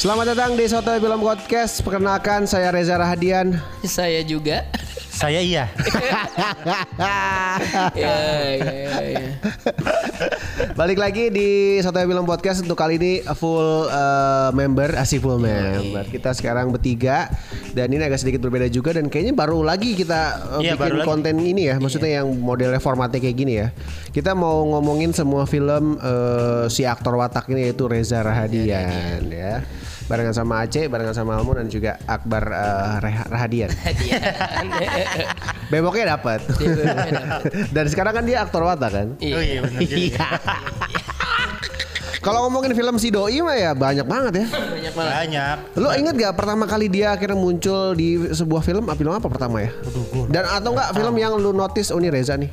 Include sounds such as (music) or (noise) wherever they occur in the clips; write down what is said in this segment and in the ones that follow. Selamat datang di Soto Film Podcast. Perkenalkan saya Reza Rahadian. Saya juga. Saya (laughs) iya. ya, ya, ya. Balik lagi di Soto Film Podcast untuk kali ini full eh, member, asih full Iya, member. Kita sekarang bertiga dan ini agak sedikit berbeda juga dan kayaknya baru lagi kita eh, Iya, baru lagi. Iya. bikin konten ini ya. Maksudnya yang modelnya formatnya kayak gini ya. Kita mau ngomongin semua film eh, si aktor watak ini yaitu Iya, Reza Rahadian ya. Barengan sama Aceh, barengan sama Almun dan juga Akbar eh, (laughs) Reha- Rahadian. Beboknya dapat. Beboknya dapat. Dan sekarang kan dia aktor watak kan. (laughs) Iya. Oh iya benar juga. Kalau ngomongin film si Doi mah ya banyak banget ya. Banyak banget. Banyak. Lo inget gak pertama kali dia akhirnya muncul di sebuah film? Ah, Film apa pertama ya? Dan atau enggak film yang lu notice oh ini Reza nih?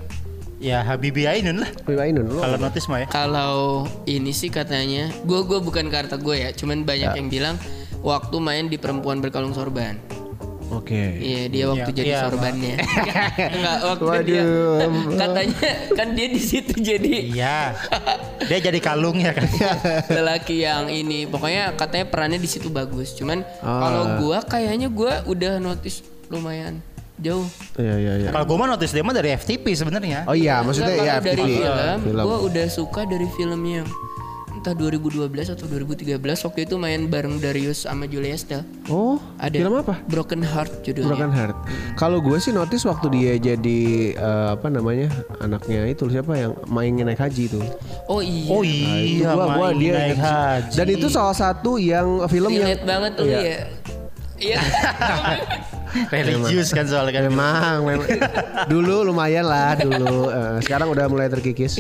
Ya Habibie Ainun lah. Wih, Ainun lu. Kalau notice mah ya. Iya. Kalau ini sih katanya, gue gue bukan karta gue ya, cuman banyak yang bilang waktu main di perempuan berkalung sorban. Oke. Iya, dia waktu Iya, jadi iya, sorbannya. Enggak, waktu dia Waduh. katanya kan dia di situ jadi Iya. Dia jadi kalung ya kan. (laughs) lelaki yang ini pokoknya katanya perannya di situ bagus cuman kalau gua kayaknya gua udah notice lumayan jauh Iya iya iya. Kalau gue mah notice dia mah dari FTP sebenarnya. Oh iya, maksudnya ya Maksudnya dari FTV. film, Film. gua udah suka dari filmnya entah 2012 atau 2013 waktu itu main bareng Darius sama Julia Estelle Oh, ada film apa? Broken Heart judulnya Broken Iya. Heart. Kalau gue sih notice waktu dia jadi eh, apa namanya anaknya itu siapa yang mainin naik haji itu. oh iya Oh Itu iya, gua- gua main dia- naik haji. Dan itu salah satu yang film relate yang banget lu Iya. ya Iya, religius kan soalnya kan. Memang, memang. dulu lumayan lah dulu. Eh, sekarang udah mulai terkikis.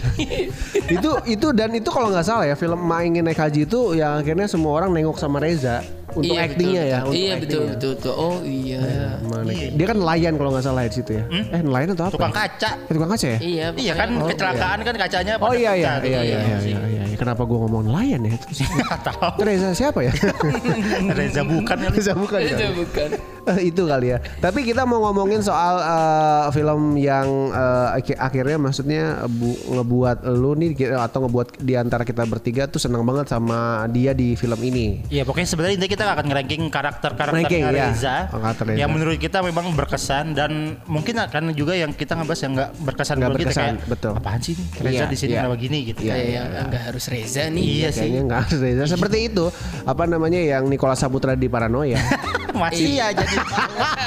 itu itu dan itu kalau nggak salah ya film Ma ingin naik haji itu yang akhirnya semua orang nengok sama Reza (laughs) untuk Iya, betul, actingnya ya. betul. Untuk Iya betul, actingnya. betul betul. Oh iya. Ma naik- Dia kan nelayan kalau nggak salah ya di situ ya. Hmm? Eh nelayan atau apa? Tukang kaca. Eh, tukang kaca ya. Iya. Iya pokoknya- kan kecelakaan kan kacanya Oh pada iya iya pecah tuh. iya iya iya iya. iya. Kenapa gua ngomong nelayan ya? Terus, Nggak tahu. Reza siapa ya? (laughs) (laughs) Reza bukan ya. Reza bukan. Itu kan? bukan. Eh, (laughs) itu kali ya. Tapi kita mau ngomongin soal eh, film yang eh, ak- akhirnya maksudnya bu- ngebuat lu nih ki- atau ngebuat di antara kita bertiga tuh senang banget sama dia di film ini. Iya pokoknya sebenarnya intinya kita akan ngeranking Ranking, karakter-karakternya iya. Reza, Oh, karakter Reza. yang menurut kita memang berkesan dan mungkin akan juga yang kita ngebahas yang nggak berkesan Nggak buat berkesan, kita kayak betul. apaan sih nih Reza Iya, di sini iya. kenapa gini gitu. Iya, Iya, enggak harus Reza nih. Iya sih. Kayaknya nggak harus Reza. Seperti itu apa namanya yang Nikola Saputra di (laughs) Paranoia. Masih Iya. ya jadi Iya,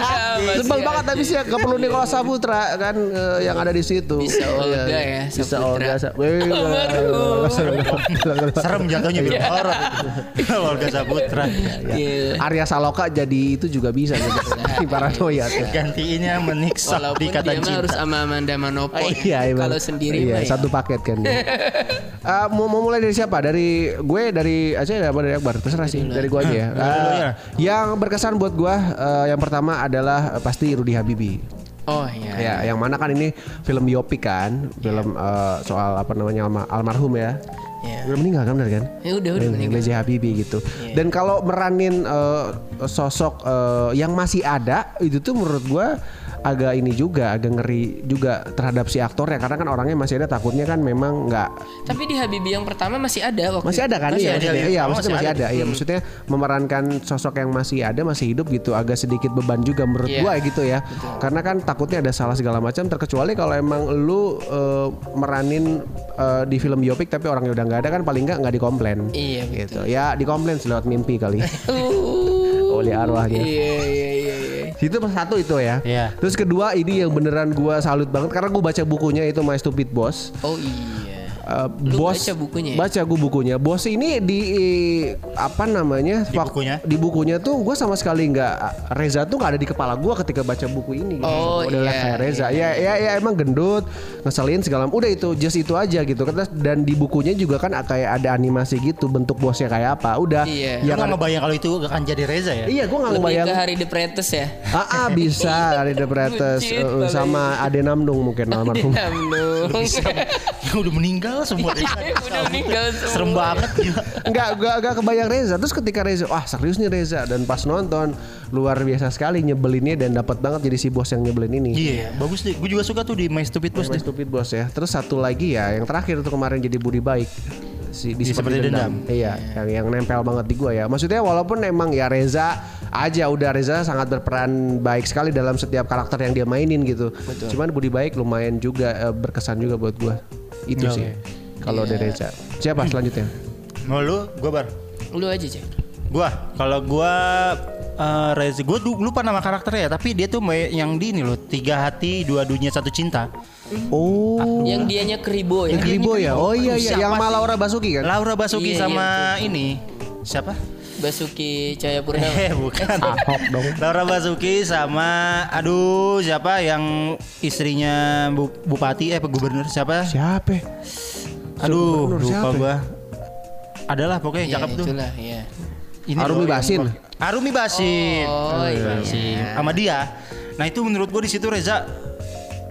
Ah, Sebel banget tapi sih nggak perlu Nikola Saputra kan eh, yang ada di situ. Bisa Olga Iya, ya, Bisa Olga. Saputra. (laughs) Sa- Wih, iya. serem jatuhnya film horor. gitu. (laughs) itu. Olga Saputra Iya. Arya Saloka jadi itu juga bisa (laughs) jadi paranoia tuh. gantiinnya meniksa Walaupun di kata dia mah harus cinta. sama Amanda Manopo. Iya, emang. Kalau sendiri iya, mah ya. satu paket kan. dia. Eh, mau, mau mulai dari siapa? Dari gue, dari Aceh, apa dari Akbar? Terserah sih, dari gue aja ya. dulu Eh, ya. yang berkesan buat gue, eh, yang pertama adalah eh, pasti Rudy Habibie. Oh iya. Ya, yang mana kan ini film biopik kan, film eh, soal apa namanya alma- almarhum ya. Iya. Udah meninggal kan bener kan? Ya udah udah Yang meninggal. Iya. B.J. Habibie gitu. Dan kalau meranin eh, sosok eh, yang masih ada itu tuh menurut gua agak ini juga agak ngeri juga terhadap si aktornya karena kan orangnya masih ada takutnya kan memang nggak Tapi di Habibie yang pertama masih ada waktu. masih ada kan Masih iya ada, maksudnya iya. iya Oh, maksudnya masih masih ada iya maksudnya memerankan sosok yang masih ada masih hidup gitu agak sedikit beban juga menurut Iya. gua gitu ya karena kan takutnya ada salah segala macam terkecuali kalau emang lu eh, meranin eh, di film biopik tapi orangnya udah nggak ada kan paling nggak nggak dikomplain Iya, gitu ya dikomplain lewat mimpi kali Uh, Oleh arwahnya. Iya iya iya. iya. itu satu itu ya Iya. terus kedua ini yang beneran gua salut banget karena gua baca bukunya itu My Stupid Boss Oh iya. Eh, eh, Lu bos baca bukunya ya? baca gue bukunya bos ini di apa namanya Di wak- bukunya? di bukunya tuh gue sama sekali nggak Reza tuh nggak ada di kepala gue ketika baca buku ini gitu. Oh, modelnya iya, kayak Reza ya ya ya emang gendut ngeselin segala udah itu just itu aja gitu Terus- dan di bukunya juga kan kayak ada animasi gitu bentuk bosnya kayak apa udah Iya. Lu yang nggak ada- ngebayang kalau itu akan jadi Reza ya? iya gue nggak Lebih ngebayang ke hari depretes ya. Ah, ah, bisa (laughs) Ari Depretes Eh, Buncit eh, sama Ade Namdung mungkin (laughs) almarhum. Damnung. Iya. Ya udah meninggal semua Reza. Udah meninggal semua. Serem banget Iya. gila. Enggak, enggak, enggak kebayang Reza. Terus ketika Reza, wah serius nih Reza. Dan pas nonton, luar biasa sekali nyebelinnya dan dapat banget jadi si bos yang nyebelin ini. Iya, bagus deh. Gue juga suka tuh di My Stupid Boss Emang deh. stupid bos ya. Terus satu lagi ya, yang terakhir tuh kemarin jadi budi baik. Si, di Di Seperti Dendam. Iya, yang yang nempel banget di gua ya. Maksudnya walaupun emang ya Reza aja udah Reza sangat berperan baik sekali dalam setiap karakter yang dia mainin gitu. Cuman budi baik lumayan juga eh, berkesan juga buat gua. Itu Iya, Oke. sih. Kalau dari Reza. Siapa selanjutnya? Mau lu, gue bar. Lu aja, Cek. Gua, kalau gua eh, Reza, gue lupa nama karakternya ya, tapi dia tuh me- yang di ini loh, tiga hati, dua dunia, satu cinta. Oh. Yang dianya keribo ya. Yang Kribo ya? Oh iya iya, Siapa yang sih? Malaura Basuki kan? Laura Basuki Iya, iya, sama ini siapa? (laughs) Basuki Eh Cahaya Purnama. bukan. Ahok dong. Laura Basuki sama aduh siapa yang istrinya bu- bupati eh gubernur siapa? Siapa? Aduh Gubernur lupa siapa? gua. Adalah pokoknya yang Iya, eh, cakep tuh. itulah, iya. Ini Arumi loh yang Basin. pakai- Arumi Basin. Oh, Arumi iya. Basin. Sama dia. Nah itu menurut gue di situ Reza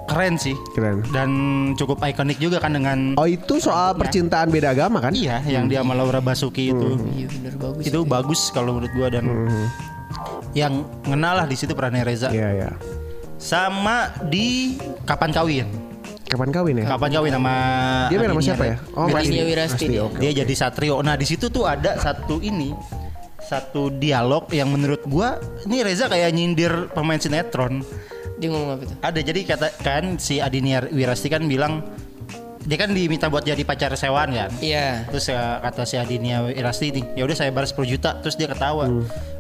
keren sih. Keren. Dan cukup ikonik juga kan dengan Oh itu soal percintaan beda agama kan? iya yang dia sama Laura Basuki itu. Hmm. Iya, bener bagus. Itu bagus kalau menurut gue dan yang ngenal lah di situ perannya Reza. Iya iya. Sama di Kapan Kawin. Kapan kawin ya? Kapan Kawin sama Dia main sama adiknya siapa Re- ya? Oh, Wirasti. Pasti. Wirasti. Pasti, dia. oke. dia jadi satrio. Nah, di situ tuh ada satu ini satu dialog yang menurut gua ini Reza kayak nyindir pemain sinetron. Dia ngomong apa tuh? Ada jadi kata kan si Adinia Wirasti kan bilang dia kan diminta buat jadi pacar sewaan kan. Iya. Terus ya, kata si Adinia Wirasti nih, ya udah saya bayar 10 juta, terus dia ketawa.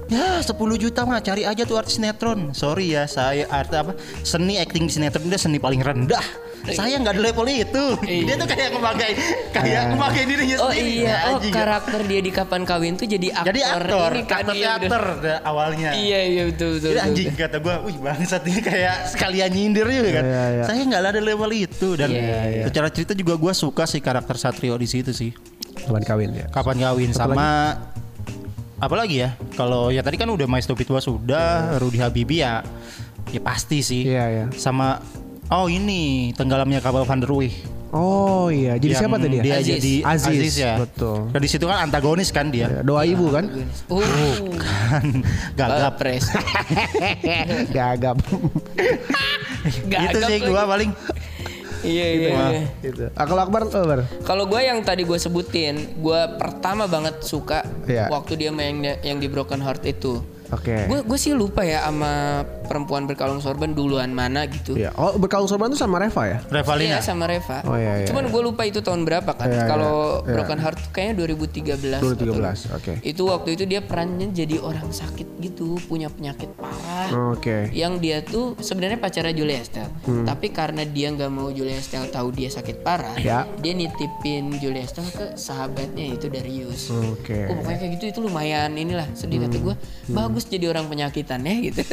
Ya 10 juta mah cari aja tuh artis sinetron. Sorry ya, saya arti apa? Seni acting di sinetron dia seni paling rendah. Saya nggak di level itu. Dia tuh kayak ngebagai kayak ngebagai dirinya Iya. Oh sendiri. Ya, iya, oh anjing. karakter dia di kapan kawin tuh jadi aktor. Jadi aktor, ini kan aktor iya, bener. teater dah awalnya. Iya iya betul betul. Jadi betul, anjing betul. kata gua, wih bangsat ini (laughs) kayak sekalian nyindir juga kan. Iya, iya. Saya nggak ada level itu dan Iya, iya. secara cerita juga gua suka sih karakter Satrio di situ sih. Kapan kawin ya? Kapan kawin sama apa lagi ya? Kalau ya tadi kan udah My Stupid Was sudah, Rudy Habibie ya ya pasti sih. Iya, iya. Sama oh ini tenggelamnya kapal Van der Wijk. Oh iya, jadi Yang siapa tadi ya? Dia Aziz. jadi Aziz, Aziz, ya. betul. Dan di situ kan antagonis kan dia. Doa ibu kan? Uh, Kan (laughs) gagap. (laughs) Bapres. Iya, (laughs) Gagap. Gagap itu Gitu sih gua lagi. paling Iya iya. iya. gitu. Akal Akbar, oh, Bar. Kalau gue yang tadi gue sebutin, gue pertama banget suka Iya. waktu dia main yang di Broken Heart itu. Oke. Gue gue sih lupa ya sama perempuan berkalung sorban duluan mana gitu. Iya. Oh, berkalung sorban tuh sama Reva ya? Revalina. Iya sama Reva. Oh, iya, iya, Cuman gue lupa itu tahun berapa kan. Iya, iya, Kalau iya. Broken Heart tuh kayaknya 2013. 2013, atau- oke. Itu waktu itu dia perannya jadi orang sakit gitu, punya penyakit Oh. parah. Oke. Yang dia tuh sebenarnya pacarnya Julia Estelle, Hmm. tapi karena dia nggak mau Julia Estelle tahu dia sakit parah, Ya. dia nitipin Julia Estelle ke sahabatnya itu Darius. Oke. Oh, pokoknya kayak gitu itu lumayan inilah sedih Hmm. kata gue bagus jadi orang penyakitan ya gitu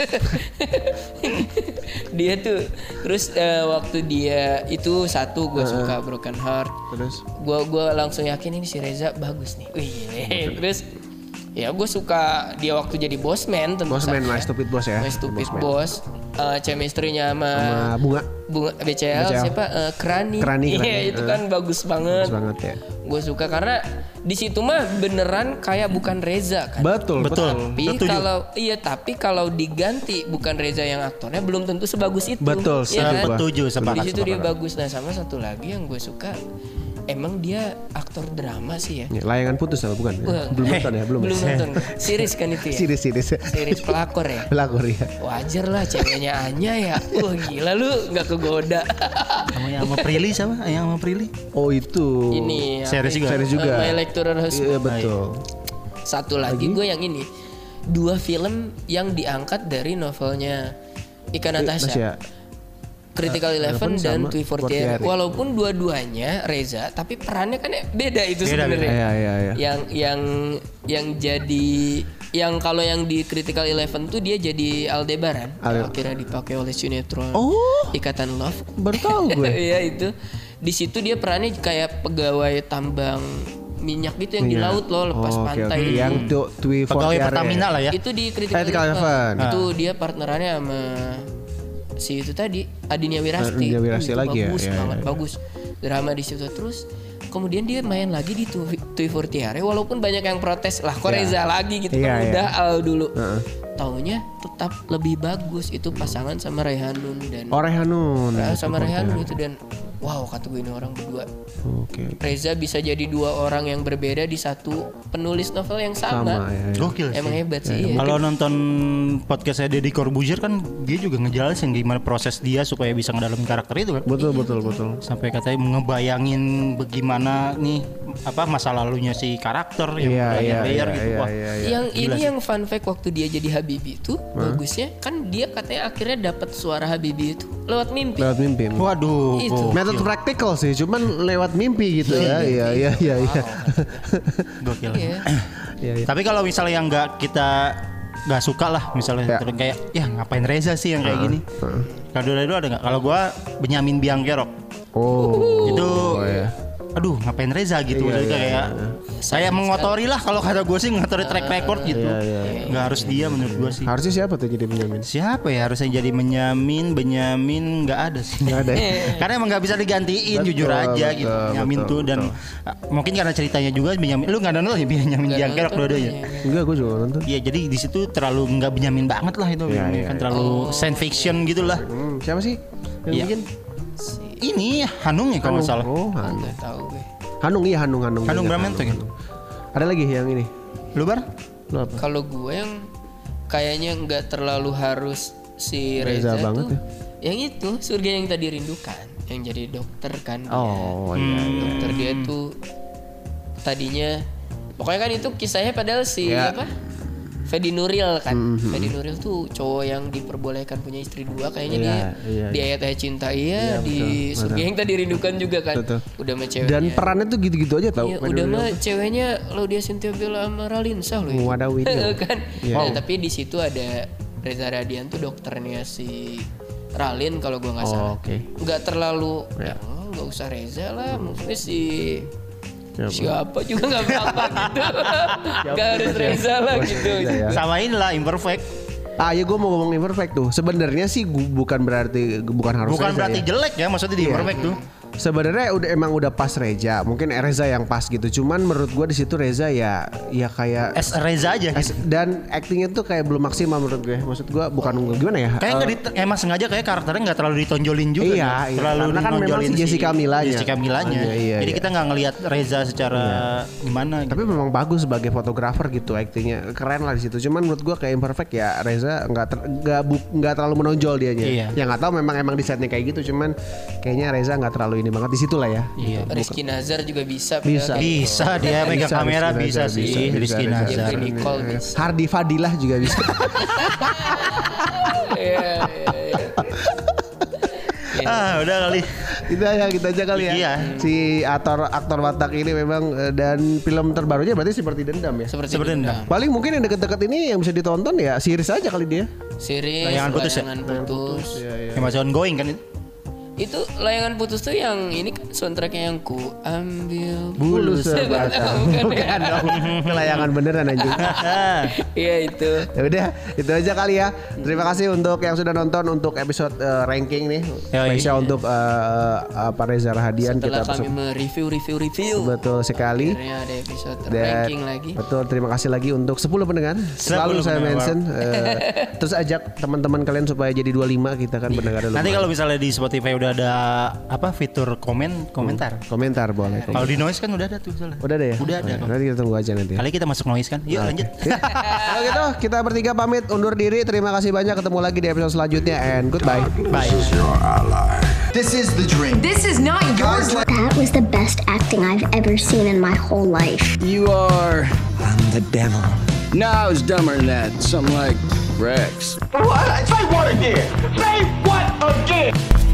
(laughs) dia tuh terus eh, waktu dia itu satu gue suka broken heart Terus? gue gua langsung yakin ini si Reza bagus nih Wih, terus ya gue suka dia waktu jadi bosman tentu Bosman, saja. My Stupid Boss ya. My stupid Bosman. boss Eh, chemistry-nya sama, Sama Bunga. bunga BCL, BCL. siapa Eh, Krani Krani, Iya, Krani. itu Eh. kan bagus banget Bagus banget ya. gue suka karena di situ mah beneran kayak bukan Reza kan Betul, Betul. tapi Setuju. kalau iya tapi kalau diganti bukan Reza yang aktornya belum tentu sebagus itu kan? Betul, Iya setuju gua. Setuju, sepakat, di situ dia sepakat. bagus nah sama satu lagi yang gue suka emang dia aktor drama sih ya Ya, layangan putus apa bukan? Wah. Belum nonton ya, belum. (laughs) belum nonton series kan itu ya Siris, siris. series pelakor ya Pelakor ya. wajar lah ceweknya Anya ya wah gila lu nggak kegoda Sama yang sama Prilly sama yang sama Prilly. Oh itu. ini apa Series itu? juga. Series juga. Eh, My Lecturer Husband. Iya betul. Satu lagi gue yang ini Dua film yang diangkat dari novelnya Ika Natasha Tasya. Critical Eleven Eleven dan sama T4JR. 248. Walaupun dua-duanya Reza, tapi perannya kan beda itu Beda, sebenarnya. beda. Iya, iya, iya. Yang yang yang jadi yang kalau yang di Critical Eleven tuh dia jadi Aldebaran. Ale- Akhirnya dipakai oleh Sinetron. Oh. Ikatan Love. Baru (laughs) tahu gue. Iya itu. Di situ dia perannya kayak pegawai tambang minyak gitu yang di Iya. laut loh lepas Oke, oke. pantai. Yang tuh Twi Pegawai Pertamina lah ya. Ah. Itu di Critical, Critical Eleven. Eleven. Itu dia partnerannya sama si itu tadi Adinia Wirasti. Hmm, Adinia Wirasti Itu lagi ya? bagus Iya, banget, iya, iya. bagus. Drama di situ terus kemudian dia main lagi di Tui Fortiare walaupun banyak yang protes lah kok Reza lagi gitu Iya, kan iya. udah al dulu. Taunya tetap lebih bagus itu pasangan sama Rehanun dan Iya, Oh Rehanun. Nah, sama Rehanun itu dan wow kata gue ini orang berdua Oke. Reza bisa jadi dua orang yang berbeda di satu penulis novel yang sama. Sama ya. ya. Gokil sih. Emang hebat sih. iya. Kalau nonton podcast saya Deddy Corbuzier kan dia juga ngejelasin gimana proses dia supaya bisa ngedalamin karakter itu kan. Betul betul betul. Sampai katanya ngebayangin bagaimana nih apa masa lalunya si karakter yang Iya berani iya iya bayar gitu. iya Wah, iya. iya. yang Gila ini sih. yang fun fact waktu dia jadi Habibi itu bagusnya kan dia katanya akhirnya dapat suara Habibi itu lewat mimpi. Lewat mimpi. Waduh. Itu. gokil. Metode praktikal sih, cuman lewat mimpi gitu ya. Iya iya iya iya. Gokil. Iya. Iya iya. Tapi kalau misalnya yang nggak kita nggak suka lah misalnya Ya. terus kayak ya ngapain Reza sih yang kayak gini. Kalau dulu dulu ada nggak? Kalau gua Benyamin Biangkerok (laughs) Oh. itu iya. aduh ngapain Reza gitu Jadi kayak saya mengotori lah kalau kata gue sih mengotori track record gitu. Iya, iya, Nggak harus dia menurut gua sih. Harusnya siapa tuh jadi penjamin? Siapa ya harusnya jadi menyamin Benyamin nggak ada sih Nggak ada ya? (laughs) Karena emang nggak bisa digantiin Betul, jujur aja betul, gitu Benyamin betul, tuh dan ah, mungkin karena ceritanya juga Benyamin Lu nggak nonton ya Benyamin Nggak Jangkerok nonton, dua-duanya iya. Enggak, gue juga nggak nonton. Iya jadi di situ terlalu nggak benyamin banget lah itu Iya, Benyamin iya, kan iya. terlalu Oh. science fiction gitu lah Hmm, siapa sih yang Iya. bikin? Ini Hanung ya kalau nggak salah Oh, Han- Nggak tahu gue. Hanung iya Hanung Hanung. Hanung Ingat, Bramantyo kan? Ada lagi yang ini. Lu bar? Lu apa? Kalau gue yang kayaknya nggak terlalu harus si Reza Reza, banget ya? tuh, Yang itu surga yang tadi rindukan, yang jadi dokter kan. dia. Oh iya. dokter dia tuh tadinya pokoknya kan itu kisahnya padahal si Ya. apa Fedi Nuril kan Hmm, Fedi Nuril tuh cowok yang diperbolehkan punya istri dua kayaknya Iya, dia iya, di ayat ayat cinta iya, di surga yang tadi rindukan juga kan Betul. udah sama Iya, ceweknya Dan perannya tuh gitu-gitu aja tau. Iya, udah mah ceweknya Laudia Cynthia Bella sama Ralinsa loh ya. itu. Wadawi Iya, itu. kan. Nah, tapi di situ ada Reza Radian tuh dokternya si Ralin kalau gua nggak Oh, salah. oke. Nggak terlalu Ya. "Ya, nggak usah Reza lah, maksudnya si siapa juga nggak apa-apa gitu. Nggak harus Reza lah gitu. Ya. Sama inilah Imperfect Ah ya gue mau ngomong imperfect tuh. Sebenarnya sih gua bukan berarti bukan harus. Bukan Reza berarti ya. jelek ya maksudnya di Imperfect tuh Sebenarnya udah emang udah pas Reza. Mungkin Reza yang pas gitu. Cuman menurut gue di situ Reza ya ya kayak As Reza aja gitu as- dan actingnya tuh kayak belum maksimal menurut gue. Maksud gue bukan gimana ya? Kayak nggak di- emang sengaja kayak karakternya nggak terlalu ditonjolin juga. Iya, nih. iya. terlalu Karena kan memang ditonjolin si Jessica Milanya. Jessica Milanya. Iya, iya, Jadi iya. kita nggak ngelihat Reza secara gimana. gitu. Tapi memang bagus sebagai fotografer gitu aktingnya keren lah di situ. Cuman menurut gua kayak imperfect ya Reza nggak ter- nggak bu- nggak terlalu menonjol dianya. Iya. Ya nggak tahu memang emang di setnya kayak gitu. Cuman kayaknya Reza nggak terlalu ini banget di situ lah ya. Iya. Rizky Nazar juga bisa. Iya, Bisa. padahal. Bisa dia megang Bisa, Ya, kamera Rizky bisa, Nazar, sih bisa, bisa, Rizky bisa. Nazar. Jeffrey Nicole bisa. Hardy Fadilah juga (laughs) bisa. Iya, iya, iya. Ah udah kali. kita ya kita aja kali ya. Iya. Si aktor aktor Batak ini memang eh, dan film terbarunya berarti seperti dendam ya. Seperti Seperti itu. Nah, dendam. Paling mungkin yang deket-deket ini yang bisa ditonton ya series aja kali dia. Series, Layangan putus ya? Layangan putus. Yang masih ongoing kan itu. Itu layangan putus tuh yang ini kan soundtracknya yang ku ambil. Bulu (laughs) Bukan, sebatang. bukan ya. Bukan dong. Kelayangan beneran anjing. Ah. Iya itu. ya udah itu aja kali ya terima kasih untuk yang sudah nonton untuk episode eh, ranking nih Yoi. Malaysia untuk eh, apa Reza Rahadian Kan Setelah kita kami mereview, review, review. betul sekali Akhirnya ada episode Dan- ranking lagi. Betul, terima kasih lagi untuk 10 pendengar. Selalu saya pendengar. mention eh, terus ajak teman-teman kalian supaya jadi 25 kita kan pendengar dulu. Nanti kalau misalnya di Spotify udah ada apa fitur komen komentar. komentar boleh. Kalau di noise kan udah ada tuh soalnya. Hmm. Udah deh ya. Udah ada. Nanti kita tunggu aja nanti. ya. Kali kita masuk noise kan. Yuk lanjut. (laughs) Kalau gitu kita bertiga pamit undur diri. Terima kasih banyak ketemu lagi di episode selanjutnya and goodbye. Bye. This is your ally. This is the dream. This is not your That was the best acting I've ever seen in my whole life. You are. I'm the devil. No, I was dumber than that. Something like Rex. What? Say what again? Say what again?